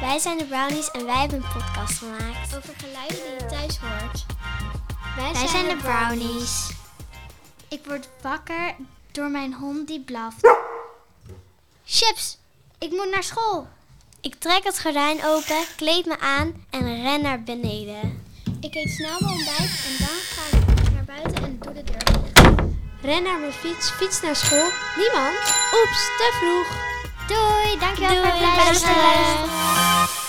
Wij zijn de Brownies en wij hebben een podcast gemaakt. Over geluiden die je thuis hoort. Wij, zijn de Brownies. Ik word wakker door mijn hond die blaft. Chips, ik moet naar school. Ik trek het gordijn open, kleed me aan en ren naar beneden. Ik eet snel mijn ontbijt en dan ga ik naar buiten en doe de deur dicht. Ren naar mijn fiets, fiets naar school. Niemand? Oeps, te vroeg. Doei, dankjewel voor het luisteren. luisteren.